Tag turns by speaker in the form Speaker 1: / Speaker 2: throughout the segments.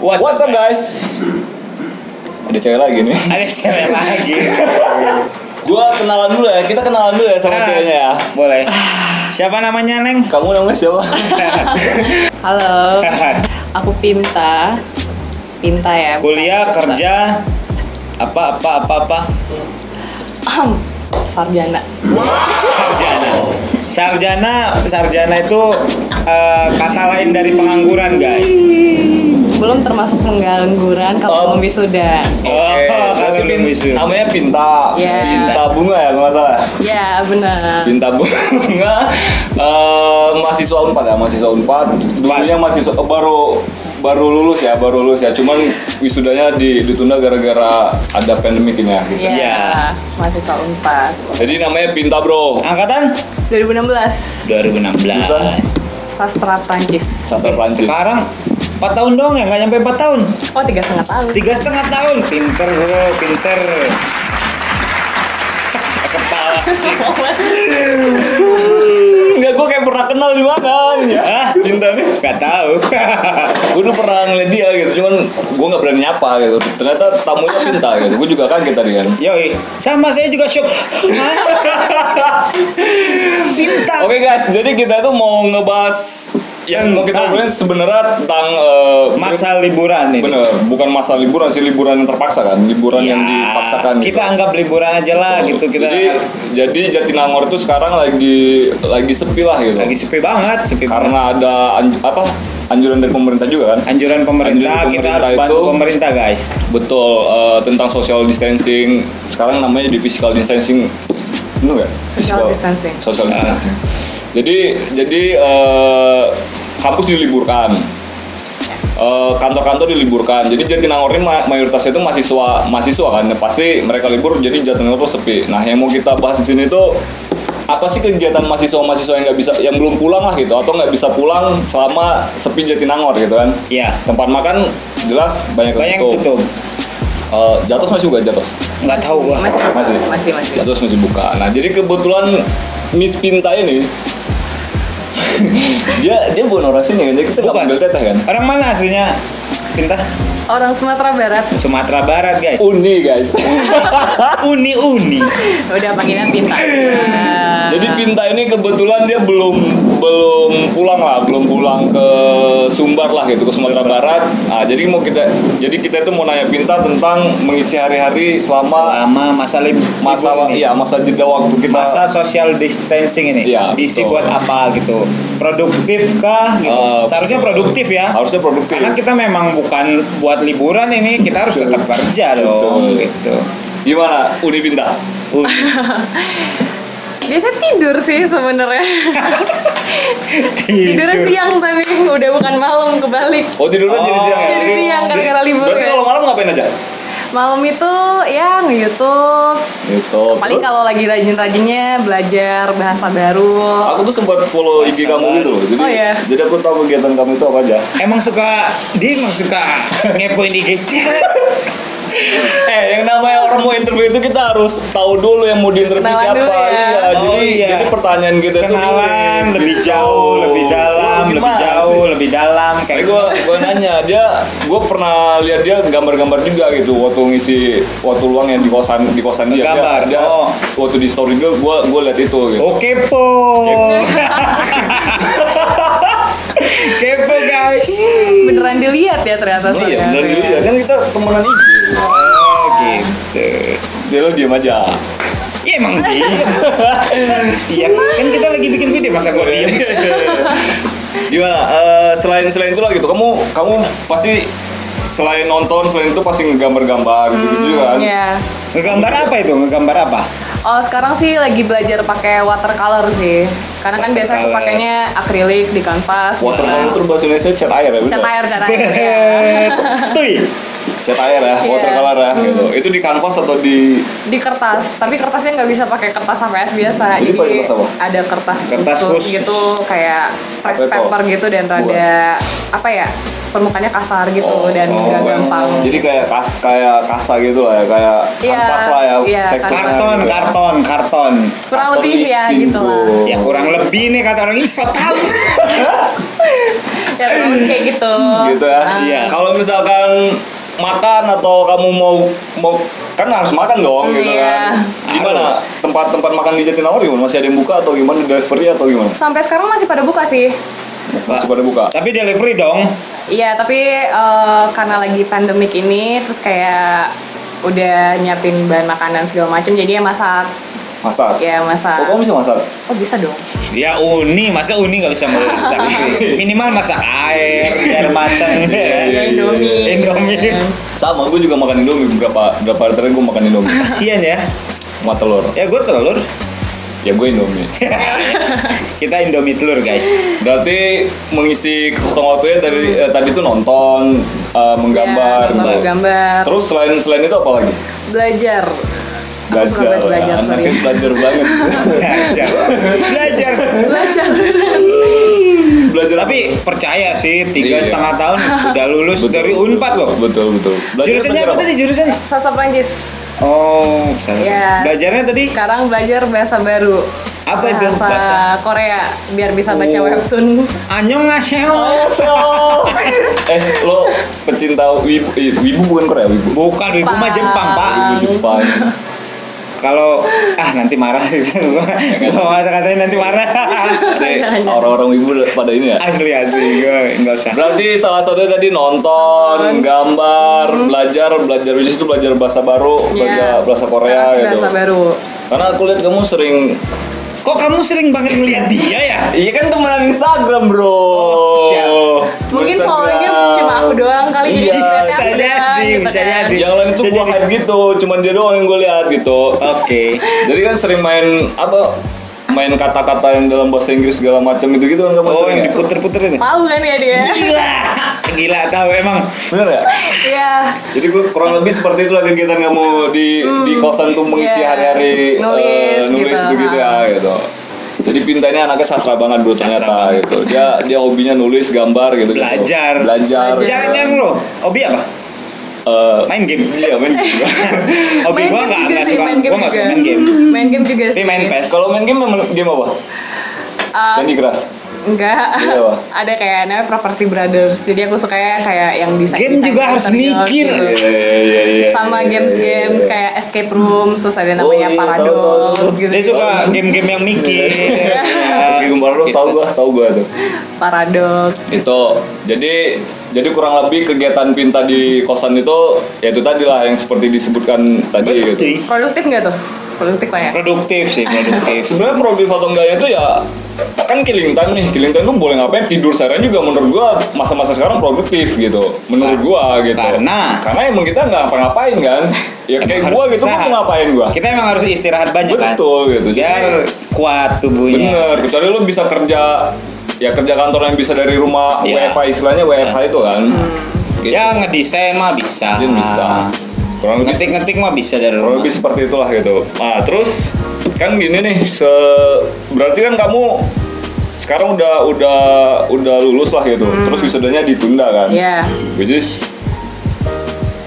Speaker 1: What's,
Speaker 2: What's up guys? Ada cewek lagi nih.
Speaker 1: Ada cewek lagi.
Speaker 2: Gua kenalan dulu ya. Kita kenalan dulu ya sama
Speaker 1: Ah.
Speaker 2: ceweknya ya. Ah.
Speaker 1: Boleh. Siapa namanya Neng?
Speaker 2: Kamu namanya siapa?
Speaker 3: Halo, aku Pinta. Pinta ya. bukan
Speaker 1: Kuliah,
Speaker 3: Pinta.
Speaker 1: kerja, apa apa apa apa
Speaker 3: Ahem, sarjana.
Speaker 1: sarjana. Sarjana, sarjana itu eh, kata lain dari pengangguran guys.
Speaker 3: Belum termasuk penggangguran
Speaker 2: Om.
Speaker 3: kalau belum
Speaker 1: Oh.
Speaker 3: wisuda.
Speaker 1: Oke,
Speaker 2: berarti
Speaker 1: kalau
Speaker 2: Pin-
Speaker 1: belum isu.
Speaker 2: namanya Pinta.
Speaker 3: Iya.
Speaker 2: Pinta bunga ya, kalau nggak salah.
Speaker 3: Ya, benar.
Speaker 2: Pinta bunga. Eh, mahasiswa Unpad ya, mahasiswa Unpad. Dulunya mahasiswa eh, baru baru lulus ya, baru lulus ya. Cuman wisudanya di- ditunda gara-gara ada pandemik ini ya. gitu.
Speaker 3: Ya,
Speaker 1: Iya.
Speaker 3: mahasiswa Unpad.
Speaker 2: Jadi namanya Pinta Bro.
Speaker 1: Angkatan
Speaker 3: 2016,
Speaker 1: 2016.
Speaker 3: sastra Prancis.
Speaker 2: Sastra Prancis.
Speaker 1: Sekarang 4 tahun dong ya, nggak nyampe 4 tahun.
Speaker 3: Oh, tiga setengah tahun.
Speaker 1: Tiga setengah tahun. Pinter bro, pinter. Kepala sih.
Speaker 2: Enggak, gue kayak pernah kenal di mana ya.
Speaker 1: Hah?
Speaker 2: Pinta nih.
Speaker 1: Gak tahu.
Speaker 2: gue dulu pernah ngeliat dia gitu cuman gue nggak berani nyapa gitu ternyata tamunya pinta gitu gue juga kaget tadi kan
Speaker 1: Yoi, sama saya juga shock. Pintar.
Speaker 2: oke guys jadi kita itu mau ngebahas yang mau kita
Speaker 1: Tentang.
Speaker 2: obrolin sebenarnya tentang eh,
Speaker 1: Masa liburan ini.
Speaker 2: bener bukan masa liburan sih liburan yang terpaksa kan liburan
Speaker 1: Ya,
Speaker 2: yang dipaksakan gitu.
Speaker 1: kita anggap liburan aja lah gitu kita
Speaker 2: jadi
Speaker 1: harus-
Speaker 2: jadi Jatinangor itu sekarang lagi lagi sepi lah gitu
Speaker 1: lagi sepi banget, sepi banget.
Speaker 2: karena ada anj- apa anjuran dari pemerintah juga kan
Speaker 1: Anjuran pemerintah,
Speaker 2: Anjuran
Speaker 1: kita
Speaker 2: pemerintah
Speaker 1: harus bantu
Speaker 2: itu-
Speaker 1: pemerintah guys.
Speaker 2: Betul, eh, tentang social distancing. Sekarang namanya di physical distancing. Benar nggak?
Speaker 3: Social distancing.
Speaker 2: Social distancing. Jadi jadi eh, kampus diliburkan. Eh, kantor-kantor diliburkan. Jadi Jatinangor ini ma- mayoritasnya itu mahasiswa mahasiswa kan. Pasti mereka libur jadi Jatinangor tuh sepi. Nah, yang mau kita bahas di sini tuh apa sih kegiatan mahasiswa-mahasiswa yang nggak bisa yang belum pulang lah gitu atau nggak bisa pulang selama sepi Jatinangor gitu kan.
Speaker 1: Iya.
Speaker 2: Tempat makan jelas banyak,
Speaker 1: Banyak
Speaker 2: yang
Speaker 1: tutup.
Speaker 2: tutup. Eh, Jatos masih buka Jatos?
Speaker 1: Nggak tahu gua.
Speaker 3: Masih,
Speaker 2: Masih.
Speaker 3: masih, masih. masih.
Speaker 2: Jatos masih buka. Nah, jadi kebetulan Miss Pinta ini dia dia bukan orang sini kan, jadi kita nggak
Speaker 1: Bukan.
Speaker 2: panggil teteh kan?
Speaker 1: Orang mana aslinya? Pintar.
Speaker 3: Orang Sumatera Barat
Speaker 1: Sumatera Barat guys.
Speaker 2: Uni guys.
Speaker 3: Ah.
Speaker 2: Uh.
Speaker 1: Uni uni.
Speaker 3: udah panggilan Pinta. Nah,
Speaker 2: jadi Pinta ini kebetulan dia belum belum pulang lah, belum pulang ke Sumbar lah gitu ke Sumatera Barat. Nah, jadi mau kita jadi kita itu mau nanya Pinta tentang mengisi hari-hari selama
Speaker 1: Selama masa lib
Speaker 2: masa
Speaker 1: libur ini.
Speaker 2: iya masa jeda waktu kita
Speaker 1: masa social distancing ini
Speaker 2: Iya,
Speaker 1: diisi
Speaker 2: betul.
Speaker 1: buat apa gitu produktif kah gitu
Speaker 2: Eh,
Speaker 1: seharusnya produktif ya
Speaker 2: harusnya produktif.
Speaker 1: karena kita memang bukan buat liburan ini kita harus
Speaker 2: Iya. Betul.
Speaker 1: tetap kerja dong
Speaker 2: Betul.
Speaker 1: gitu
Speaker 2: Gimana? Uni Pinta?
Speaker 1: Uh,
Speaker 3: Biasa tidur sih sebenarnya.
Speaker 1: tidur
Speaker 3: Tidurnya siang tapi udah bukan malam kebalik.
Speaker 2: Oh tidurnya jadi
Speaker 1: Oh.
Speaker 2: siang ya?
Speaker 3: Jadi siang, gara-gara libur
Speaker 2: Berarti
Speaker 3: ya.
Speaker 2: kalau malam ngapain aja?
Speaker 3: Malam itu ya nge-youtube
Speaker 2: Gitu
Speaker 3: Paling kalau lagi rajin-rajinnya belajar bahasa baru
Speaker 2: Aku tuh sempat follow IG
Speaker 1: Sabar.
Speaker 2: kamu gitu loh Jadi,
Speaker 3: Oh, iya.
Speaker 2: jadi aku tahu kegiatan kamu itu apa aja
Speaker 1: emang suka dia emang suka ngepoin IG
Speaker 2: Eh yang namanya orang mau interview itu kita harus tahu dulu yang mau diinterview
Speaker 3: Kenalan
Speaker 2: siapa
Speaker 3: dulu ya.
Speaker 2: Iya,
Speaker 1: Oh,
Speaker 2: jadi,
Speaker 1: iya.
Speaker 2: jadi pertanyaan kita itu
Speaker 1: kenalan
Speaker 2: gini,
Speaker 1: lebih
Speaker 2: gitu.
Speaker 1: jauh lebih dalam
Speaker 2: Lu
Speaker 1: lebih
Speaker 2: gimana
Speaker 1: jauh
Speaker 2: sih?
Speaker 1: lebih dalam
Speaker 2: Tapi
Speaker 1: kayak
Speaker 2: gue gue nanya dia, gue pernah lihat dia gambar-gambar juga gitu waktu ngisi waktu luang yang di kosan di kosan dia. Dia-
Speaker 1: Gambar,
Speaker 2: dia,
Speaker 1: oh.
Speaker 2: waktu di story gue, gue gue lihat itu. Gitu.
Speaker 1: Oh kepo. kepo guys.
Speaker 3: Beneran dilihat ya ternyata
Speaker 2: Oh, iya,
Speaker 3: saudara.
Speaker 2: benar juga ya. kan kita temenan IG.
Speaker 1: Oh gitu.
Speaker 2: Dia lo diam aja.
Speaker 1: Ya emang diem. Iya kan kita lagi bikin video masa gua diem.
Speaker 2: Gimana? eh, selain selain itu lah gitu, kamu kamu pasti selain nonton selain itu pasti ngegambar-gambar gitu, gitu juga kan?
Speaker 3: Iya.
Speaker 1: Ngegambar apa itu? Ngegambar apa?
Speaker 3: Oh sekarang sih lagi belajar pakai watercolor sih Karena kan biasa aku
Speaker 1: Watercolor.
Speaker 3: pakainya akrilik di kanvas
Speaker 2: Watercolor
Speaker 3: gitu.
Speaker 2: itu bahasa Indonesia cat air ya, bener?
Speaker 3: Cat air, cat air ya.
Speaker 2: Eh,
Speaker 1: Tuh.
Speaker 2: Cat air ya,
Speaker 3: Iya.
Speaker 2: watercolor ya. Gitu. Itu di kanvas atau di
Speaker 3: Di kertas, tapi kertasnya nggak bisa pakai kertas HVS biasa
Speaker 2: Jadi pakai kertas apa?
Speaker 3: ada kertas,
Speaker 1: Kertas
Speaker 3: khusus,
Speaker 1: khusus.
Speaker 3: gitu Kayak press
Speaker 2: Apa itu?
Speaker 3: paper gitu dan
Speaker 2: Bukan.
Speaker 3: rada apa ya permukaannya kasar gitu
Speaker 2: Oh,
Speaker 3: dan
Speaker 2: oh,
Speaker 3: nggak
Speaker 2: oh.
Speaker 3: gampang
Speaker 2: Jadi kayak kas kayak kasa gitu lah ya, kayak
Speaker 3: Iya,
Speaker 2: kanvas lah ya.
Speaker 3: iya,
Speaker 2: teksturnya
Speaker 1: Karton,
Speaker 2: gitu ya.
Speaker 1: karton, karton.
Speaker 3: kurang
Speaker 2: Karton
Speaker 3: lebih ya
Speaker 2: licin,
Speaker 3: gitu lah
Speaker 2: Bro.
Speaker 1: Ya kurang lebih nih kata orang iso tahu.
Speaker 3: ya kurang lebih kayak gitu
Speaker 2: gitu ya.
Speaker 3: Ah.
Speaker 2: Iya. Kalau misalkan makan atau kamu mau mau kan harus makan dong
Speaker 3: Hmm,
Speaker 2: gitu
Speaker 3: iya.
Speaker 2: kan. Gimana
Speaker 1: Harus.
Speaker 2: tempat-tempat makan di Jatinangor gimana? Masih ada yang buka atau gimana delivery atau gimana?
Speaker 3: sampai sekarang masih pada buka sih
Speaker 2: Masih pada buka.
Speaker 1: Tapi delivery dong.
Speaker 3: Iya, tapi eh, karena lagi pandemik ini, terus kayak udah nyiapin bahan makanan segala macam, jadi ya masak,
Speaker 2: Masak.
Speaker 3: ya masak.
Speaker 2: Oh, kamu bisa masak?
Speaker 3: Oh bisa dong.
Speaker 1: Ya uni, masa uni nggak bisa masak Minimal masak air biar matang.
Speaker 2: Iya,
Speaker 3: Ya
Speaker 2: iya,
Speaker 3: Indomie.
Speaker 1: iya. Indomie.
Speaker 3: Gitu.
Speaker 2: Sama, gue juga makan Indomie beberapa berapa hari terakhir gue makan Indomie
Speaker 1: Kasian ya.
Speaker 2: sama telur.
Speaker 1: Ya gue telur.
Speaker 2: Ya gue Indomie.
Speaker 1: Kita Indomie telur guys.
Speaker 2: Berarti mengisi kekosongan waktunya dari eh, tadi itu nonton, eh, menggambar,
Speaker 3: Ya, nonton,
Speaker 2: gitu.
Speaker 3: gambar.
Speaker 2: Terus selain selain itu apa lagi?
Speaker 3: Belajar. Aku suka banget belajar,
Speaker 2: ya. Anaknya
Speaker 3: sorry.
Speaker 2: belajar banget.
Speaker 1: Belajar. Belajar.
Speaker 3: Belajar. beneran.
Speaker 2: belajar
Speaker 1: Tapi percaya sih tiga
Speaker 2: Iya.
Speaker 1: setengah tahun udah lulus
Speaker 2: Betul.
Speaker 1: dari Unpad loh.
Speaker 2: betul betul. Belajar
Speaker 1: Jurusannya
Speaker 2: belajar
Speaker 1: apa tadi jurusan?
Speaker 3: Sastra Prancis.
Speaker 1: Oh, salah.
Speaker 3: Iya.
Speaker 1: Belajarnya tadi
Speaker 3: Sekarang belajar bahasa baru.
Speaker 1: Apa itu
Speaker 3: bahasa,
Speaker 1: bahasa?
Speaker 3: Korea biar bisa baca
Speaker 1: Oh.
Speaker 3: webtoon.
Speaker 1: Anyong ngaseo.
Speaker 2: eh lo pecinta wibu, eh, wibu bukan Korea wibu.
Speaker 1: Bukan ibu mah Jepang, Pak.
Speaker 2: Wibu Jepang.
Speaker 1: Kalau ah nanti marah gitu. Gua kata-katain nanti marah.
Speaker 2: Eh,
Speaker 3: Jangan, jangan.
Speaker 2: Orang-orang wibu pada ini ya.
Speaker 1: asli asli gue enggak usah.
Speaker 2: Berarti salah satunya tadi nonton, gambar,
Speaker 3: Hmm.
Speaker 2: belajar, belajar bisnis itu belajar bahasa baru,
Speaker 3: Ya.
Speaker 2: belajar bahasa Korea
Speaker 3: Sekarang sih
Speaker 2: gitu.
Speaker 3: Bahasa baru.
Speaker 2: Karena aku lihat kamu sering
Speaker 1: Kok kamu sering banget ngeliat dia ya?
Speaker 2: Iya kan temenan Instagram, Bro.
Speaker 1: siap.
Speaker 3: Mungkin
Speaker 2: Oh, Instagram.
Speaker 3: followingnya cuma aku doang kali
Speaker 2: Iya.
Speaker 3: jadi
Speaker 1: Bisa
Speaker 3: aku doang,
Speaker 1: jadi,
Speaker 3: gitu
Speaker 1: bisa
Speaker 3: kan.
Speaker 1: jadi.
Speaker 2: Yang lain tuh
Speaker 1: Bisa
Speaker 2: gua
Speaker 1: jadi.
Speaker 2: hype gitu, cuman dia doang yang gue lihat gitu.
Speaker 1: Oke.
Speaker 2: Jadi kan sering main apa? Main kata-kata yang dalam bahasa Inggris segala macam gitu gitu kan kamu
Speaker 1: Oh
Speaker 2: sering
Speaker 1: yang
Speaker 2: ya?
Speaker 1: diputer-puter itu.
Speaker 3: Tahu kan ya dia?
Speaker 1: Gila. Gila tahu emang.
Speaker 2: Bener ya?
Speaker 3: Iya.
Speaker 2: Jadi gue kurang lebih seperti itulah kegiatan kamu di di kosan tuh mengisi
Speaker 3: Hmm, iya.
Speaker 2: hari-hari eh,
Speaker 3: Nulis
Speaker 2: nulis
Speaker 3: gitu,
Speaker 2: gitu, gitu ya gitu. Jadi pintanya anaknya sastra banget bro
Speaker 1: Sastra
Speaker 2: ternyata
Speaker 1: banget.
Speaker 2: gitu. Dia dia hobinya nulis, gambar gitu.
Speaker 1: Belajar.
Speaker 2: Belajar. gitu.
Speaker 1: Jangan yang lo. Hobi apa?
Speaker 2: Eh,
Speaker 1: Main game.
Speaker 2: iya main juga.
Speaker 1: Hobi
Speaker 3: Main
Speaker 1: gue
Speaker 3: game
Speaker 1: nggak
Speaker 3: juga
Speaker 1: nggak
Speaker 3: sih,
Speaker 1: suka.
Speaker 3: main game
Speaker 1: Gue nggak suka
Speaker 3: juga.
Speaker 1: main game.
Speaker 3: Main game juga
Speaker 1: Tapi
Speaker 3: sih.
Speaker 1: main pes.
Speaker 2: Kalau main game main game apa?
Speaker 3: Ah,
Speaker 2: Candy Crush.
Speaker 3: enggak.
Speaker 2: Iya, Wak.
Speaker 3: Ada kayak namanya Property Brothers. Jadi aku sukanya kayak yang desain gitu.
Speaker 1: Game juga harus mikir.
Speaker 2: Iya iya iya.
Speaker 3: Sama games-games kayak escape room, terus ada namanya
Speaker 2: Oh, iya, tahu,
Speaker 3: Paradox
Speaker 2: tahu.
Speaker 3: gitu.
Speaker 1: Dia suka game-game yang mikir.
Speaker 2: Meski
Speaker 1: Ya.
Speaker 2: Gumbaro tahu Iya. gua, tahu gua tuh.
Speaker 3: Paradox.
Speaker 2: Itu. Jadi jadi kurang lebih kegiatan pinta di kosan itu ya itu tadi lah yang seperti disebutkan tadi gitu.
Speaker 1: Betul.
Speaker 3: Produktif nggak tuh? Produktif lah ya.
Speaker 1: Produktif sih produktif.
Speaker 2: Sebenarnya produktif atau enggaknya itu ya kan killing time nih, killing time tuh boleh ngapain tidur seharian juga menurut gua masa-masa sekarang produktif gitu. Menurut gua gitu.
Speaker 1: Karena-
Speaker 2: karena emang kita nggak ngapa-ngapain kan. Ya
Speaker 1: Emang
Speaker 2: kayak
Speaker 1: harus
Speaker 2: gua gitu gua
Speaker 1: istirahat.
Speaker 2: mau ngapain gua.
Speaker 1: Kita emang harus istirahat banyak kan.
Speaker 2: Betul gitu. Jadi-
Speaker 1: Biar kuat tubuhnya.
Speaker 2: Bener, kecuali lu bisa kerja ya kerja kantor yang bisa dari rumah
Speaker 1: Iya.
Speaker 2: WFH istilahnya WFH itu kan. Gitu.
Speaker 1: Ya ngedesain mah bisa.
Speaker 2: Mungkin bisa. Kurang lebih
Speaker 1: Ngetik-ngetik mah bisa dari
Speaker 2: kurang
Speaker 1: rumah.
Speaker 2: lebih seperti itulah gitu. Nah, terus kan gini nih, se berarti kan kamu sekarang udah udah udah lulus lah gitu. Terus wisudanya ditunda kan.
Speaker 3: Hmm. Iya.
Speaker 2: Which is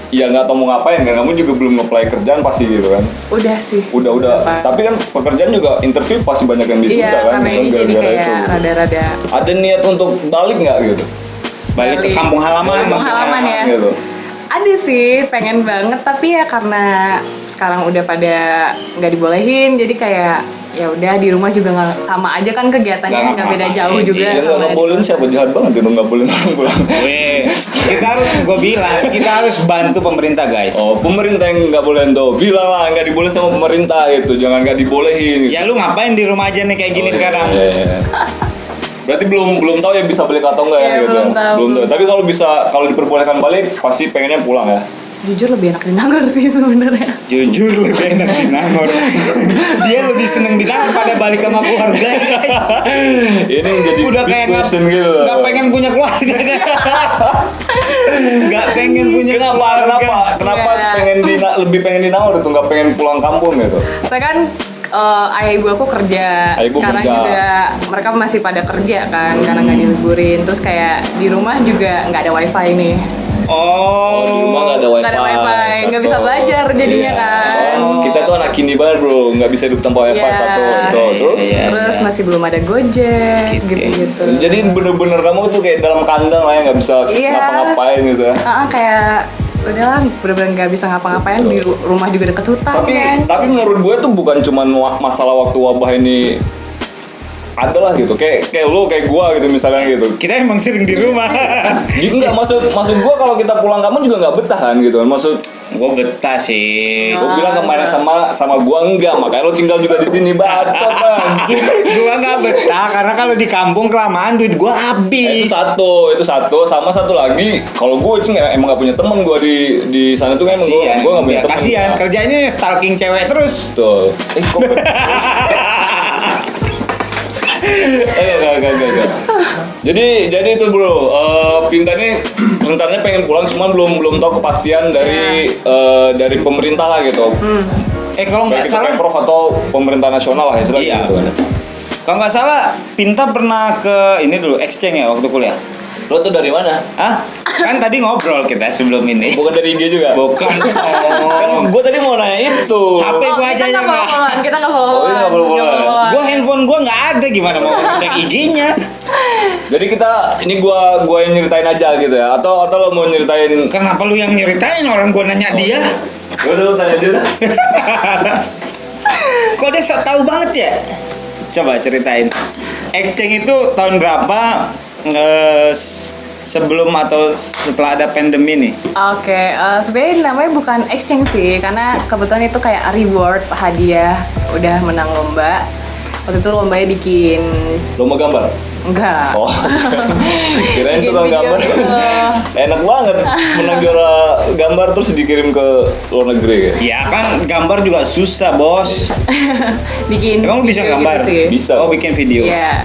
Speaker 2: ya nggak tahu mau ngapain kan kamu juga belum nge-apply kerjaan pasti gitu kan
Speaker 3: Udah sih.
Speaker 2: udah udah
Speaker 3: Beberapa.
Speaker 2: tapi kan pekerjaan juga interview pasti banyak yang ditunda
Speaker 3: Iya,
Speaker 2: kan
Speaker 3: karena
Speaker 2: Mungkin
Speaker 3: ini jadi
Speaker 2: gara-gara
Speaker 3: kayak
Speaker 2: itu.
Speaker 3: rada-rada
Speaker 2: ada niat untuk balik nggak gitu?
Speaker 1: Balik ke
Speaker 3: Balik.
Speaker 1: kampung halaman
Speaker 3: Kampung
Speaker 1: maksudnya.
Speaker 3: halaman ya.
Speaker 2: Gitu.
Speaker 3: Ada sih, pengen banget tapi ya karena sekarang udah pada nggak dibolehin, jadi kayak ya udah di rumah juga nggak sama aja kan
Speaker 1: Nggak
Speaker 3: kegiatannya nggak beda
Speaker 1: ngapa-ngapain,
Speaker 3: jauh juga
Speaker 2: Iya
Speaker 3: sama
Speaker 2: nggak bolehin siapa jahat banget itu nggak bolehin orang pulang.
Speaker 1: Weh, kita harus gue bilang kita harus bantu pemerintah guys.
Speaker 2: Oh pemerintah yang nggak bolehin tuh bilang lah nggak dibolehin sama pemerintah itu jangan nggak dibolehin. gitu. Eh.
Speaker 1: Ya lu ngapain di rumah aja nih kayak
Speaker 2: Oh,
Speaker 1: gini
Speaker 2: iya,
Speaker 1: sekarang?
Speaker 2: Berarti belum belum tahu ya bisa balik atau enggak ya,
Speaker 3: Iya,
Speaker 2: gitu.
Speaker 3: belum tahu.
Speaker 2: Tapi kalau bisa kalau diperbolehkan balik pasti pengennya pulang ya.
Speaker 3: Jujur lebih enak di Nangor sih sebenarnya.
Speaker 1: Jujur lebih enak di Nangor. Dia lebih seneng di Nangor pada balik sama keluarga guys.
Speaker 2: Ini jadi
Speaker 1: Udah
Speaker 2: big
Speaker 1: kayak nggak
Speaker 2: question gitu.
Speaker 1: nggak pengen punya keluarga. guys. Nggak pengen punya
Speaker 2: Kenapa?
Speaker 1: keluarga.
Speaker 2: Kenapa? Kenapa
Speaker 3: Iya.
Speaker 2: pengen di lebih pengen di Nangor itu nggak pengen pulang kampung gitu?
Speaker 3: Saya kan eh, ayah ibu aku kerja,
Speaker 2: Ayah ibu
Speaker 3: sekarang
Speaker 2: kerja.
Speaker 3: juga mereka masih pada kerja kan karena nggak diliburin. Terus kayak di rumah juga nggak ada wifi nih,
Speaker 1: Oh,
Speaker 2: Oh, di rumah nggak ada wifi.
Speaker 3: Nggak ada wifi, nggak bisa
Speaker 2: Satu. Iya.
Speaker 3: belajar jadinya kan.
Speaker 2: Soalnya kita tuh anak kini banget bro, nggak bisa hidup tanpa Eva
Speaker 3: Iya.
Speaker 2: satu itu terus.
Speaker 1: Iya.
Speaker 3: Terus masih belum ada Gojek
Speaker 1: Gitu.
Speaker 3: gitu-gitu.
Speaker 2: Jadi bener-bener kamu tuh kayak dalam kandang lah ya nggak bisa
Speaker 3: Iya.
Speaker 2: ngapa-ngapain gitu ya.
Speaker 3: Ah, ah, kayak udahlah bener-bener nggak bisa ngapa-ngapain di ru- rumah juga deket hutan
Speaker 2: Tapi
Speaker 3: kan.
Speaker 2: tapi menurut gue tuh bukan cuman wa- masalah waktu wabah ini adalah gitu kayak kayak lu kayak gua gitu misalnya gitu
Speaker 1: Kita emang sering di rumah.
Speaker 2: Jadi nggak maksud maksud gua kalau kita pulang kamu juga nggak betah kan gitu maksud
Speaker 1: gue betah sih.
Speaker 2: gua bilang kemarin sama sama gua enggak makanya lo tinggal juga di sini bacot anjing.
Speaker 1: gua nggak betah karena kalau di kampung kelamaan duit gua habis.
Speaker 2: Eh, itu satu itu satu sama satu lagi kalau gue itu nggak- emang gak punya temen gue di di sana tuh kan, emang gue
Speaker 1: Kasian,
Speaker 2: gue gak punya
Speaker 1: ya,
Speaker 2: temen
Speaker 1: kasihan
Speaker 2: Nah,
Speaker 1: kerjanya stalking cewek terus.
Speaker 2: betul eh kok Eh, enggak, enggak, enggak, enggak. Jadi jadi itu bro, eh Pinta ini rencananya pengen pulang cuman belum belum tahu kepastian dari eh, dari pemerintah lah gitu.
Speaker 1: Eh kalau Iya. nggak
Speaker 2: Baik itu
Speaker 1: salah,
Speaker 2: Pemprov atau pemerintah nasional lah istilahnya
Speaker 1: Iya.
Speaker 2: gitu kan.
Speaker 1: kalau nggak salah, Pinta pernah ke ini dulu exchange ya waktu kuliah.
Speaker 2: Lo tuh dari mana?
Speaker 1: Ah, kan tadi ngobrol kita sebelum ini.
Speaker 2: Bukan dari IG juga.
Speaker 1: Bukan.
Speaker 2: Kan
Speaker 1: Oh.
Speaker 2: gue tadi mau nanya itu.
Speaker 1: Apa?
Speaker 3: Oh,
Speaker 1: gua aja yang
Speaker 3: kita nggak
Speaker 1: nggak-
Speaker 3: follow-followan, kita nggak follow-followan.
Speaker 2: Oh, iya, nggak follow-followan.
Speaker 3: Nggak follow-followan.
Speaker 1: Gua handphone gua nggak ada gimana mau cek IG-nya?
Speaker 2: Jadi kita ini gua gua yang nyeritain aja gitu ya. Atau atau lo mau nyeritain?
Speaker 1: Kenapa lu yang nyeritain orang gua nanya dia?
Speaker 2: Gua dulu tanya dia. dah.
Speaker 1: Kok dia sok tahu banget ya? Coba ceritain. Exchange itu tahun berapa? Eh, s- sebelum atau setelah ada pandemi nih?
Speaker 3: Oke, eh, sebenarnya namanya bukan exchange sih, karena kebetulan itu kayak reward hadiah udah menang lomba. Waktu itu lombanya bikin
Speaker 2: Lo mau gambar?
Speaker 3: enggak.
Speaker 2: Oh, kirain
Speaker 3: Bikin
Speaker 2: tukang
Speaker 3: video
Speaker 2: gambar.
Speaker 3: gitu.
Speaker 2: Enak banget menang juara gambar terus dikirim ke luar negeri kayak.
Speaker 1: Ya kan gambar juga susah bos.
Speaker 3: bikin
Speaker 1: Emang lu bisa
Speaker 3: video
Speaker 1: gambar?
Speaker 3: Gitu sih.
Speaker 2: Bisa.
Speaker 1: Oh bikin video.
Speaker 3: Iya.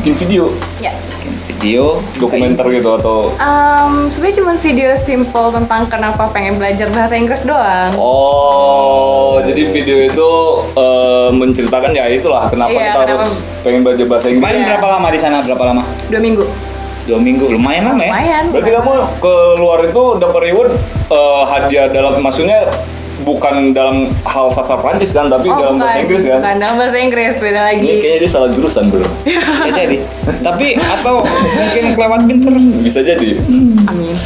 Speaker 2: Bikin video,
Speaker 3: Ya.
Speaker 1: Bikin video.
Speaker 2: dokumenter gitu atau
Speaker 3: Em, sebenarnya cuma video simple tentang kenapa pengen belajar bahasa Inggris doang.
Speaker 2: Oh, jadi video itu eh, menceritakan ya itulah kenapa
Speaker 3: Iya,
Speaker 2: kita harus
Speaker 3: kenapa-
Speaker 2: pengen belajar bahasa Inggris.
Speaker 1: Kemarin
Speaker 3: Iya.
Speaker 1: berapa lama di sana? Berapa lama?
Speaker 3: Dua minggu.
Speaker 1: Dua minggu. Lumayan lama ya?
Speaker 3: Lumayan.
Speaker 2: Eh, Berarti
Speaker 3: lumayan.
Speaker 2: kamu keluar itu dapat reward eh, hadiah dalam maksudnya bukan dalam hal sastra Prancis kan, tapi
Speaker 3: Oh,
Speaker 2: dalam
Speaker 3: bukan,
Speaker 2: bahasa Inggris kan.
Speaker 3: Bukan dalam bahasa Inggris, beda
Speaker 2: Ini
Speaker 3: lagi.
Speaker 2: kayaknya dia salah jurusan bro.
Speaker 1: Bisa jadi. Tapi atau mungkin kelewat pinter.
Speaker 2: Bisa jadi.
Speaker 3: Amin.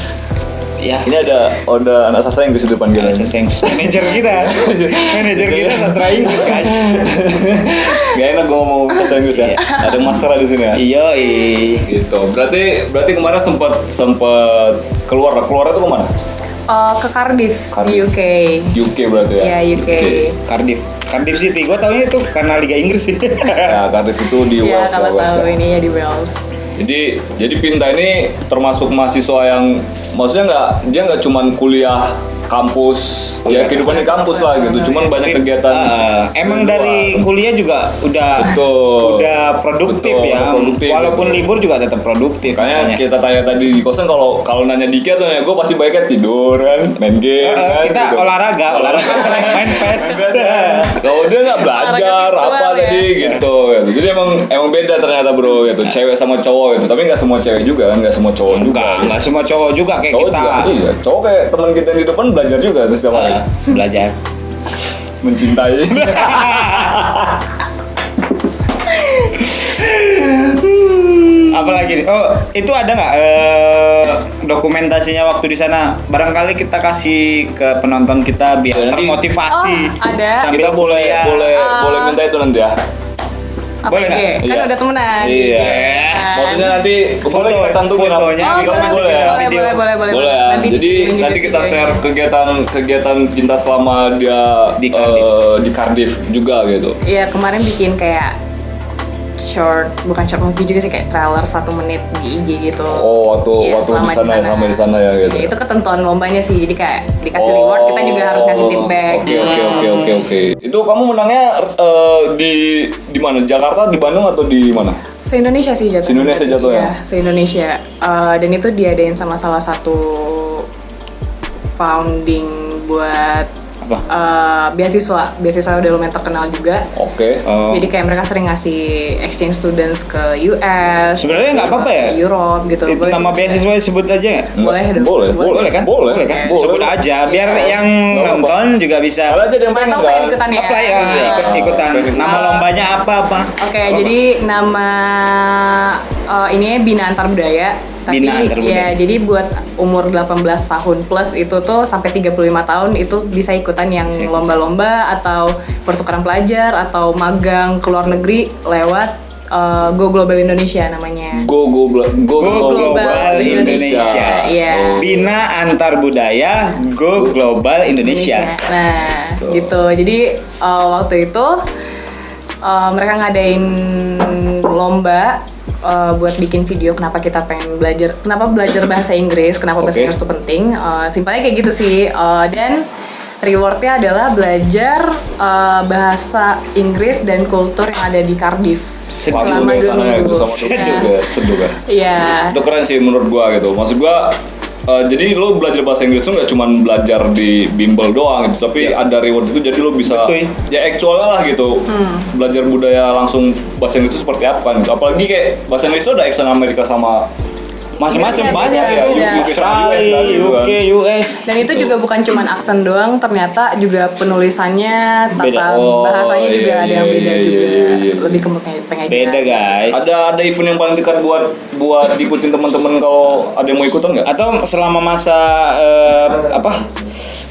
Speaker 1: Ya.
Speaker 2: Ini ada ada anak sastra Inggris di depan dia.
Speaker 1: Sastra Inggris. Manajer kita.
Speaker 2: Iya.
Speaker 1: Manajer kita sastra Inggris guys.
Speaker 2: Gak enak gue ngomong bahasa Inggris ya. Ada masalah di sini ya.
Speaker 1: Iya.
Speaker 2: Gitu. Berarti berarti kemarin sempat sempat keluar keluar itu kemana?
Speaker 3: Eh, ke Cardiff, di
Speaker 2: Cardiff.
Speaker 3: UK.
Speaker 2: UK berarti ya.
Speaker 3: Ya, UK.
Speaker 1: Cardiff. Cardiff City. Gue taunya itu karena Liga Inggris sih.
Speaker 2: Ya, Cardiff itu di
Speaker 3: Ya,
Speaker 2: Wales. ya,
Speaker 3: kalau
Speaker 2: Wales
Speaker 3: tahu
Speaker 2: ya.
Speaker 3: ini ya di Wales.
Speaker 2: Jadi jadi Pinta ini termasuk mahasiswa yang maksudnya nggak dia nggak cuman kuliah kampus ya kehidupan di kampus lah gitu cuman banyak kegiatan
Speaker 1: Eh, emang
Speaker 2: Di luar.
Speaker 1: dari kuliah juga udah
Speaker 2: Betul.
Speaker 1: udah produktif
Speaker 2: Betul,
Speaker 1: ya.
Speaker 2: produktif.
Speaker 1: Walaupun libur juga tetap produktif.
Speaker 2: Makanya
Speaker 1: makanya.
Speaker 2: kita tanya tadi di kosan kalau kalau nanya dikit atau nanya gue pasti baiknya tidur kan, main
Speaker 1: Eh,
Speaker 2: game kan,
Speaker 1: kita
Speaker 2: gitu.
Speaker 1: olahraga, olahraga, main PES.
Speaker 2: Kalau dia nggak belajar
Speaker 3: Olahraga
Speaker 2: apa
Speaker 3: virtual ya.
Speaker 2: tadi gitu,
Speaker 1: Iya.
Speaker 2: gitu. Jadi emang emang beda ternyata bro gitu, cewek sama cowok gitu. Tapi nggak semua cewek juga kan, nggak semua cowok juga.
Speaker 1: Enggak, enggak semua cowok juga kayak
Speaker 2: Cowok
Speaker 1: kita.
Speaker 2: juga, iya. Cowok kayak teman kita yang di depan belajar juga terus setiap hari.
Speaker 1: Eh, belajar.
Speaker 2: mencintai.
Speaker 1: Apalagi nih? Oh, itu ada nggak eh, dokumentasinya waktu di sana? Barangkali kita kasih ke penonton kita
Speaker 2: Ya,
Speaker 1: biar
Speaker 2: nanti-
Speaker 1: termotivasi.
Speaker 3: Oh, ada.
Speaker 1: Sambil
Speaker 2: kita boleh
Speaker 1: kuliah.
Speaker 2: boleh
Speaker 3: Ah.
Speaker 2: boleh minta itu nanti ya.
Speaker 3: Apa
Speaker 1: Boleh
Speaker 3: IG?
Speaker 1: nggak?
Speaker 3: Kan
Speaker 2: Iya.
Speaker 3: udah temenan. di
Speaker 2: Iya.
Speaker 3: IG, kan?
Speaker 2: Maksudnya nanti
Speaker 1: Foto-
Speaker 2: boleh kita cantumin apa- ya?
Speaker 1: fotonya
Speaker 3: Oh,
Speaker 1: Kita
Speaker 3: boleh,
Speaker 1: masukin
Speaker 3: boleh,
Speaker 1: dalam
Speaker 3: boleh,
Speaker 1: video.
Speaker 3: boleh, boleh, boleh,
Speaker 2: boleh ya. jadi
Speaker 3: dikirim juga
Speaker 2: nanti kita
Speaker 3: videonya.
Speaker 2: share kegiatan kegiatan kita selama dia
Speaker 1: Di
Speaker 2: di
Speaker 1: Cardiff.
Speaker 2: Cardiff, di Cardiff juga gitu
Speaker 3: Iya, kemarin bikin kayak short, bukan short movie juga sih kayak trailer satu menit di IG gitu.
Speaker 2: oh waktu
Speaker 3: Iya,
Speaker 2: waktu
Speaker 3: selama
Speaker 2: di sana sama di sana ya gitu
Speaker 3: Iya, itu ketentuan lombanya sih, jadi kayak dikasih reward, kita juga harus ngasih
Speaker 2: Oh,
Speaker 3: feedback. Iya.
Speaker 2: Oke oke oke oke oke. Itu kamu menangnya eh, di di mana? Jakarta, di Bandung atau di mana?
Speaker 3: Se-Indonesia sih jatuhnya.
Speaker 2: Se-Indonesia
Speaker 3: berarti.
Speaker 1: ya?
Speaker 2: jatuhnya?
Speaker 3: Iya, se-Indonesia. Eh, dan itu diadain sama salah satu founding buat
Speaker 1: Apa?
Speaker 3: eh, beasiswa beasiswa udah lumayan terkenal juga
Speaker 2: Oke. eh,
Speaker 1: Oh.
Speaker 3: jadi kayak mereka sering ngasih exchange students ke US
Speaker 1: Sebenarnya nggak apa-apa ya?
Speaker 3: ke Europe gitu
Speaker 1: Itu nama beasiswa disebut aja nggak?
Speaker 3: Boleh dong.
Speaker 2: Boleh,
Speaker 3: Boleh.
Speaker 1: Boleh kan?
Speaker 2: Boleh,
Speaker 1: kan?
Speaker 2: boleh.
Speaker 1: Sebut aja biar
Speaker 3: Iya.
Speaker 1: yang
Speaker 2: Nggak apa-apa.
Speaker 1: nonton juga bisa
Speaker 2: Kalau ada yang
Speaker 3: Mana
Speaker 2: pengen
Speaker 3: tahu pengen
Speaker 2: kan?
Speaker 3: ikutan ya?
Speaker 1: apply ya,
Speaker 3: Iya.
Speaker 1: ikut ikutan. Nama
Speaker 3: Eh,
Speaker 1: lombanya apa, Bang?
Speaker 3: Oke, jadi nama eh, ini Bina Antar Budaya. Tapi
Speaker 1: Bina Antar Budaya.
Speaker 3: ya jadi buat umur 18 tahun plus itu tuh sampai 35 tahun itu bisa ikutan yang
Speaker 1: Bisa ikutan.
Speaker 3: lomba-lomba atau pertukaran pelajar atau magang ke luar negeri lewat eh, Go Global Indonesia namanya.
Speaker 2: Go go Bla- go, Oh,
Speaker 1: Go Global Indonesia.
Speaker 3: Iya.
Speaker 1: Bina antar budaya Go Global Indonesia.
Speaker 3: Nah,
Speaker 2: Tuh.
Speaker 3: gitu. Jadi uh, waktu itu uh, mereka ngadain lomba uh, buat bikin video kenapa kita pengen belajar, kenapa belajar bahasa Inggris, kenapa
Speaker 2: Oke.
Speaker 3: bahasa Inggris itu penting. Uh, simpelnya kayak gitu sih. Uh, dan rewardnya adalah belajar uh, bahasa Inggris dan kultur yang ada di Cardiff
Speaker 1: Sedih.
Speaker 3: selama
Speaker 2: Waduh,
Speaker 3: dua
Speaker 2: sana ya,
Speaker 3: minggu.
Speaker 2: itu sama
Speaker 1: Seduh.
Speaker 2: Seduh
Speaker 3: Nah,
Speaker 2: ya, seduh kan.
Speaker 3: Iya.
Speaker 2: itu keren sih menurut gua gitu maksud gua eh, jadi lo belajar bahasa Inggris tuh nggak cuma belajar di bimbel doang gitu tapi ada reward itu jadi lo bisa
Speaker 1: Iya. Betul.
Speaker 2: ya actualnya lah gitu
Speaker 3: Hmm.
Speaker 2: belajar budaya langsung bahasa Inggris itu seperti apa kan gitu. apalagi kayak bahasa Inggris itu ada accent Amerika sama
Speaker 1: Macam-macam
Speaker 3: Iya,
Speaker 1: banyak
Speaker 3: beda,
Speaker 1: itu
Speaker 3: beda.
Speaker 1: Australia, UK, US.
Speaker 3: Dan
Speaker 2: Gitu.
Speaker 3: itu juga bukan cuman aksen doang, ternyata juga penulisannya,
Speaker 1: Beda.
Speaker 3: tata
Speaker 2: Oh,
Speaker 3: bahasanya juga
Speaker 2: iya,
Speaker 3: ada yang
Speaker 2: iya,
Speaker 3: beda
Speaker 2: iya,
Speaker 3: juga.
Speaker 2: iya, iya.
Speaker 3: Lebih ke penge- pengajian.
Speaker 1: Beda, guys.
Speaker 2: ada ada event yang paling dekat buat buat diikutin teman-teman kalau ada yang mau ikutan nggak
Speaker 1: atau selama masa eh, apa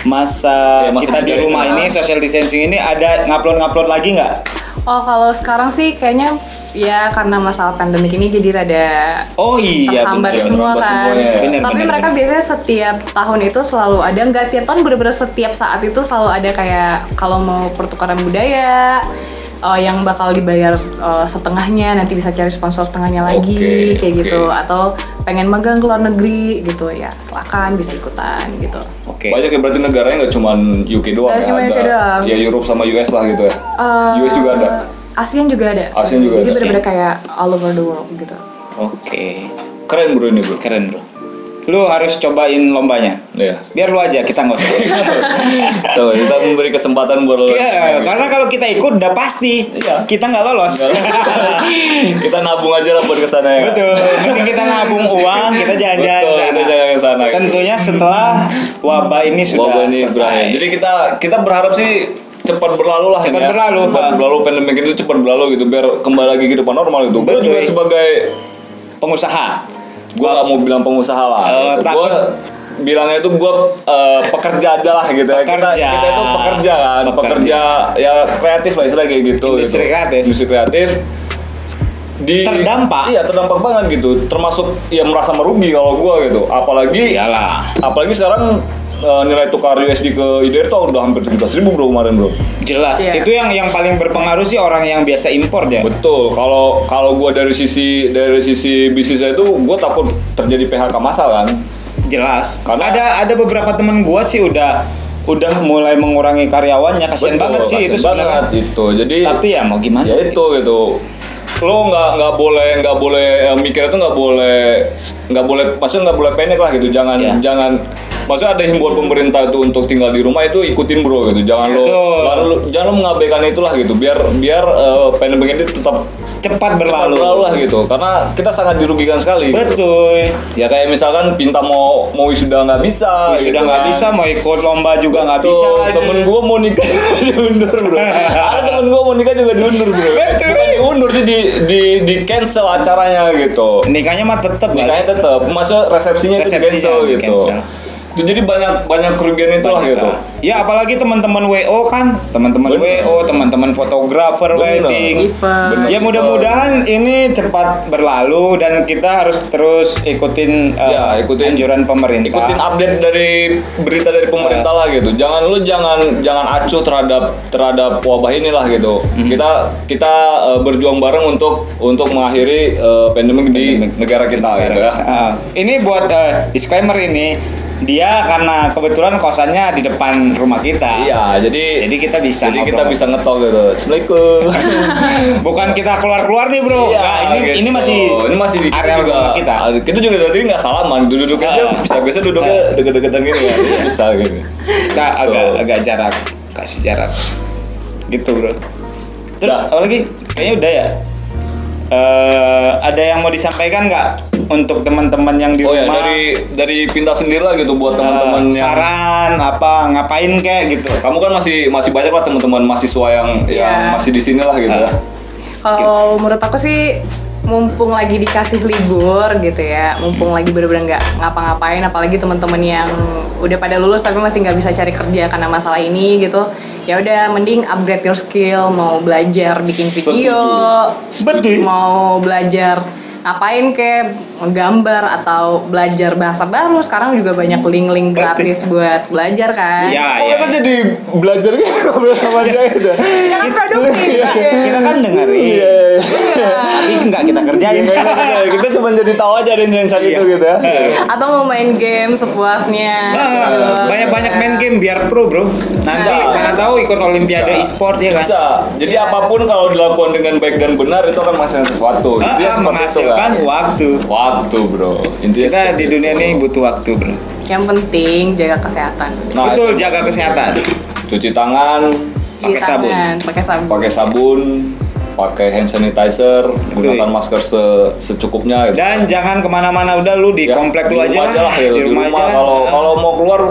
Speaker 1: masa,
Speaker 2: Ya, masa
Speaker 1: kita di
Speaker 2: kerja
Speaker 1: rumah
Speaker 2: itu.
Speaker 1: ini social distancing ini ada ngupload ngupload lagi nggak
Speaker 3: Oh, kalau sekarang sih kayaknya ya karena masalah pandemik ini jadi rada
Speaker 1: oh iya
Speaker 3: terhambat
Speaker 1: bener.
Speaker 2: bener,
Speaker 3: semua
Speaker 2: terhambat
Speaker 3: kan.
Speaker 2: semuanya ya.
Speaker 1: Bener,
Speaker 3: Tapi
Speaker 1: bener,
Speaker 3: mereka
Speaker 1: bener.
Speaker 3: biasanya setiap tahun itu selalu ada nggak tiap tahun bener-bener setiap saat itu selalu ada kayak kalau mau pertukaran budaya eh, yang bakal dibayar eh, setengahnya nanti bisa cari sponsor setengahnya lagi
Speaker 2: Oke,
Speaker 3: kayak
Speaker 2: oke.
Speaker 3: gitu atau pengen magang ke luar negeri gitu ya silakan bisa ikutan gitu.
Speaker 1: oke
Speaker 2: banyak ya berarti negaranya nggak cuma UK doang
Speaker 3: Nggak
Speaker 2: ya,
Speaker 3: cuma
Speaker 2: ada
Speaker 3: UK doang.
Speaker 2: ya Europe sama US lah gitu ya
Speaker 3: Eh,
Speaker 2: US juga ada
Speaker 3: ASEAN juga ada.
Speaker 2: ASEAN juga
Speaker 3: Jadi
Speaker 2: ada.
Speaker 3: bener-bener kayak all over the world gitu.
Speaker 1: oke
Speaker 2: keren bro ini bro
Speaker 1: keren bro lu harus cobain lombanya
Speaker 2: Iya.
Speaker 1: biar lu aja kita nggak usah
Speaker 2: Tuh, kita memberi kesempatan buat lo.
Speaker 1: Iya, karena kalau kita ikut udah pasti
Speaker 2: Iya.
Speaker 1: kita nggak lolos
Speaker 2: kita nabung aja lah buat kesana ya.
Speaker 1: betul mending kita nabung uang kita jalan-jalan
Speaker 2: Betul,
Speaker 1: ke sana
Speaker 2: kita jalan ke sana.
Speaker 1: tentunya setelah wabah ini sudah
Speaker 2: Wabah ini berakhir.
Speaker 1: selesai
Speaker 2: Jadi kita kita berharap sih cepat berlalu lah
Speaker 1: Cepat
Speaker 2: ini ya.
Speaker 1: berlalu,
Speaker 2: cepat
Speaker 1: Bang.
Speaker 2: berlalu pandemi itu cepat berlalu gitu biar kembali lagi ke depan normal gitu. Gue
Speaker 1: Betul.
Speaker 2: juga sebagai
Speaker 1: pengusaha
Speaker 2: gue gak mau bilang pengusaha lah.
Speaker 1: Eh,
Speaker 2: gitu.
Speaker 1: takut.
Speaker 2: Gue bilangnya itu gue eh, pekerja aja lah gitu ya. Kita
Speaker 1: Pekerja.
Speaker 2: kita itu pekerja kan,
Speaker 1: Pekerja.
Speaker 2: pekerja, ya kreatif lah istilahnya kayak gitu.
Speaker 1: Industri
Speaker 2: gitu.
Speaker 1: kreatif.
Speaker 2: Industri kreatif. Di,
Speaker 1: Terdampak.
Speaker 2: Iya terdampak banget gitu. Termasuk ya merasa merugi kalau gue gitu. Apalagi
Speaker 1: iyalah
Speaker 2: Apalagi sekarang eh, nilai tukar USD ke IDR tuh udah hampir 17 ribu bro kemarin bro.
Speaker 1: Jelas,
Speaker 3: Iya.
Speaker 1: itu yang yang paling berpengaruh sih orang yang biasa impor ya.
Speaker 2: Betul. Kalau kalau gua dari sisi dari sisi bisnisnya itu gua takut terjadi PHK massal kan.
Speaker 1: Jelas.
Speaker 2: Karena-
Speaker 1: ada ada beberapa temen gua sih udah udah mulai mengurangi karyawannya, kasihan
Speaker 2: Betul,
Speaker 1: banget sih
Speaker 2: kasian
Speaker 1: itu
Speaker 2: banget
Speaker 1: sebenarnya.
Speaker 2: itu. Jadi
Speaker 1: Tapi ya mau gimana?
Speaker 2: ya itu gitu. Lo nggak nggak boleh nggak boleh eh, mikir itu nggak boleh nggak boleh maksudnya nggak boleh pendek lah gitu. Jangan
Speaker 1: Iya.
Speaker 2: jangan maksudnya ada himbauan pemerintah itu untuk tinggal di rumah itu ikutin bro gitu. Jangan lo
Speaker 1: Betul.
Speaker 2: jangan lo, jangan lo mengabaikan itulah gitu. Biar biar eh, pandemi ini tetap
Speaker 1: Cepat
Speaker 2: cepat
Speaker 1: berlalu.
Speaker 2: berlalu lah gitu. Karena kita sangat dirugikan sekali.
Speaker 1: Betul.
Speaker 2: Ya kayak misalkan pinta mau mau wisuda nggak bisa.
Speaker 1: sudah
Speaker 2: gitu
Speaker 1: nggak
Speaker 2: kan.
Speaker 1: bisa mau ikut lomba juga nggak
Speaker 2: Tuh,
Speaker 1: bisa lagi.
Speaker 2: temen gue mau nikah diundur bro ada temen gue mau nikah juga diundur bro
Speaker 1: Betul.
Speaker 2: bukan diundur sih di di di cancel acaranya gitu
Speaker 1: Nikahnya mah tetep lah.
Speaker 2: nikahnya tetap maksud resepsinya itu di
Speaker 1: Resepsinya
Speaker 2: cancel
Speaker 1: di
Speaker 2: gitu
Speaker 1: cancel.
Speaker 2: Itu jadi banyak banyak kerugian itu lah gitu
Speaker 1: Ya apalagi teman-teman WO kan, teman-teman
Speaker 2: Bener.
Speaker 1: WO, teman-teman fotografer
Speaker 2: Bener.
Speaker 1: wedding.
Speaker 3: Event.
Speaker 2: Bener.
Speaker 1: Ya mudah-mudahan ini cepat berlalu dan kita harus terus ikutin, eh,
Speaker 2: Ya, ikutin-
Speaker 1: anjuran pemerintah.
Speaker 2: ikutin update dari berita dari pemerintah lah gitu jangan lu jangan jangan acuh terhadap terhadap wabah inilah gitu
Speaker 1: Hmm.
Speaker 2: kita kita eh, berjuang bareng untuk untuk mengakhiri eh, pandemi di negara kita gitu ya
Speaker 1: Ah, ini buat eh, disclaimer ini dia karena kebetulan kosannya di depan rumah kita.
Speaker 2: Iya, jadi
Speaker 1: Jadi kita bisa
Speaker 2: jadi kita
Speaker 1: ngobrol.
Speaker 2: bisa ngetol gitu. Assalamualaikum.
Speaker 1: Bukan kita keluar-keluar nih, Bro. Nggak, ini
Speaker 2: gitu.
Speaker 1: ini masih
Speaker 2: ini masih di
Speaker 1: area
Speaker 2: juga,
Speaker 1: rumah kita.
Speaker 2: Kita juga dari tadi nggak salaman, duduk-duduk
Speaker 1: Ah.
Speaker 2: aja. Bisa biasa duduknya
Speaker 1: Ah.
Speaker 2: deket-deketan gini ya, bisa gitu.
Speaker 1: Kita agak agak jarak, kasih jarak. Gitu, Bro. Terus
Speaker 2: Dah.
Speaker 1: apa lagi? Kayaknya udah ya. Eh, ada yang mau disampaikan nggak untuk teman-teman yang di
Speaker 2: Oh ya
Speaker 1: rumah?
Speaker 2: dari dari pinta sendiri lah gitu buat
Speaker 1: Eh,
Speaker 2: teman-teman yang
Speaker 1: saran apa ngapain kayak gitu.
Speaker 2: kamu kan masih masih banyak lah teman-teman mahasiswa yang yang
Speaker 3: Iya.
Speaker 2: masih di sini lah gitu lah.
Speaker 3: Kalau menurut aku sih mumpung lagi dikasih libur gitu ya, mumpung lagi bener-bener nggak ngapa-ngapain, apalagi teman-teman yang udah pada lulus tapi masih nggak bisa cari kerja karena masalah ini gitu, ya udah mending upgrade your skill, mau belajar bikin video,
Speaker 1: Betul.
Speaker 3: mau belajar ngapain ke gambar atau belajar bahasa baru sekarang juga banyak link-link gratis buat belajar kan
Speaker 1: Iya,
Speaker 2: Oh,
Speaker 1: iya.
Speaker 2: kita jadi belajar kan ngobrol sama dia gitu. udah.
Speaker 3: jangan produktif
Speaker 1: Kita kan dengerin.
Speaker 2: Iya,
Speaker 1: Tapi nggak kita kerjain.
Speaker 2: Kita cuma jadi tahu aja ada yang saat
Speaker 1: Iya.
Speaker 2: itu gitu ya.
Speaker 3: atau mau main game sepuasnya
Speaker 1: Nah,
Speaker 3: gitu.
Speaker 1: banyak-banyak main game biar pro bro. Nanti
Speaker 2: Bisa.
Speaker 1: mana tahu ikut olimpiade e-sport ya kan.
Speaker 2: Nah, Bisa. Jadi
Speaker 3: Iya.
Speaker 2: apapun kalau dilakukan dengan baik dan benar itu akan menghasilkan sesuatu.
Speaker 1: Ah,
Speaker 2: Intinya
Speaker 1: ah,
Speaker 2: seperti itu
Speaker 1: menghasilkan
Speaker 2: lah.
Speaker 1: waktu.
Speaker 2: Waktu bro. Intinya
Speaker 1: Kita
Speaker 2: seperti
Speaker 1: di dunia
Speaker 2: itu.
Speaker 1: ini butuh waktu bro.
Speaker 3: ya. yang penting jaga kesehatan
Speaker 2: Nah,
Speaker 1: Betul
Speaker 2: itu.
Speaker 1: jaga kesehatan.
Speaker 2: cuci tangan,
Speaker 1: Pakai
Speaker 3: Cuci
Speaker 1: sabun.
Speaker 3: tangan, pakai sabun
Speaker 2: pakai sabun pakai hand sanitizer gunakan masker se- secukupnya gitu.
Speaker 1: Dan jangan kemana-mana udah lu di
Speaker 2: Ya,
Speaker 1: komplek lu aja
Speaker 2: di rumah
Speaker 1: lah.
Speaker 2: ya, di, rumah, kalau
Speaker 1: Ah,
Speaker 2: kalau mau keluar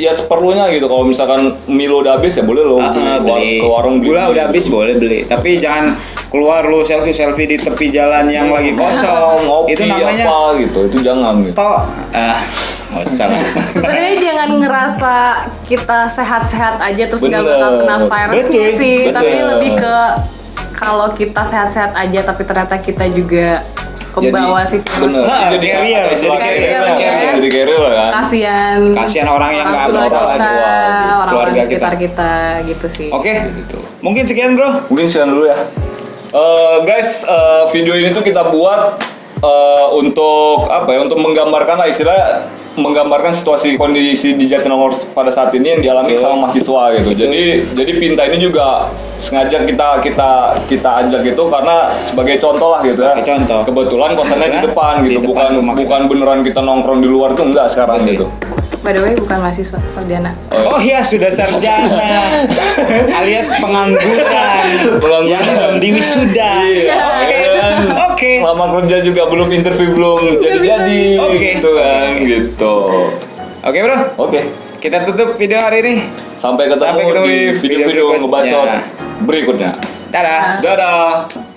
Speaker 2: ya seperlunya gitu kalau misalkan Milo udah habis ya boleh lo
Speaker 1: Ah, ah, beli.
Speaker 2: ke warung beli gitu.
Speaker 1: Gula udah habis boleh beli. Tapi jangan keluar lu selfie selfie di tepi jalan yang lagi
Speaker 2: Kalau
Speaker 1: kosong.
Speaker 2: Iya. ngopi
Speaker 1: Itu namanya
Speaker 2: apa gitu Ah, itu jangan gitu
Speaker 1: to. Ah, nggak usah lah.
Speaker 3: Sebenarnya jangan ngerasa kita sehat-sehat aja terus nggak
Speaker 2: Bener.
Speaker 3: bakal kena virusnya
Speaker 1: Betul,
Speaker 3: sih,
Speaker 2: betul.
Speaker 3: tapi lebih ke kalau kita sehat-sehat aja tapi ternyata kita juga kebawa
Speaker 2: Jadi,
Speaker 3: sih virus.
Speaker 2: bener.
Speaker 1: Ah,
Speaker 2: jadi
Speaker 1: carrier,
Speaker 2: ada istilah
Speaker 3: jadi
Speaker 2: carrier,
Speaker 3: carrier,
Speaker 2: kan?
Speaker 3: ya.
Speaker 2: jadi carrier lah kan
Speaker 3: Kasihan.
Speaker 1: Kasihan orang yang nggak
Speaker 3: tua
Speaker 1: bisa lagi.
Speaker 3: kita,
Speaker 1: Waduh,
Speaker 3: orang-orang
Speaker 1: keluarga
Speaker 3: di
Speaker 1: kita.
Speaker 3: sekitar kita. gitu sih.
Speaker 1: Oke, mungkin sekian bro.
Speaker 2: Mungkin sekian dulu ya. Eh, guys, eh, video ini tuh kita buat eh, untuk apa ya? Untuk menggambarkan lah istilah menggambarkan situasi kondisi di Jatinangor pada saat ini yang dialami
Speaker 1: Betul.
Speaker 2: sama mahasiswa gitu. Jadi jadi Pinta ini juga sengaja kita kita kita ajak gitu karena sebagai contoh lah gitu ya.
Speaker 1: Sebagai contoh.
Speaker 2: Kebetulan kosannya di
Speaker 1: Karena
Speaker 2: depan
Speaker 1: di depan
Speaker 2: gitu, bukan
Speaker 1: rumah kita.
Speaker 2: bukan beneran kita nongkrong di luar tuh enggak sekarang gitu.
Speaker 1: Betul.
Speaker 3: By the way bukan mahasiswa, sarjana.
Speaker 1: Oh iya sudah sarjana alias pengangguran
Speaker 2: Pengangguran.
Speaker 1: yang belum diwisuda.
Speaker 2: Iya.
Speaker 1: Oke.
Speaker 2: Kan?
Speaker 1: Oke.
Speaker 2: Lama kerja juga belum interview belum jadi-jadi
Speaker 1: Oke.
Speaker 2: gitu kan gitu.
Speaker 1: Oke bro,
Speaker 2: Oke,
Speaker 1: kita tutup video hari ini.
Speaker 2: sampai ketemu,
Speaker 1: Sampai ketemu
Speaker 2: di
Speaker 1: di video
Speaker 2: video-video
Speaker 1: berikutnya.
Speaker 2: ngebacot berikutnya.
Speaker 1: Dadah.
Speaker 2: Dadah.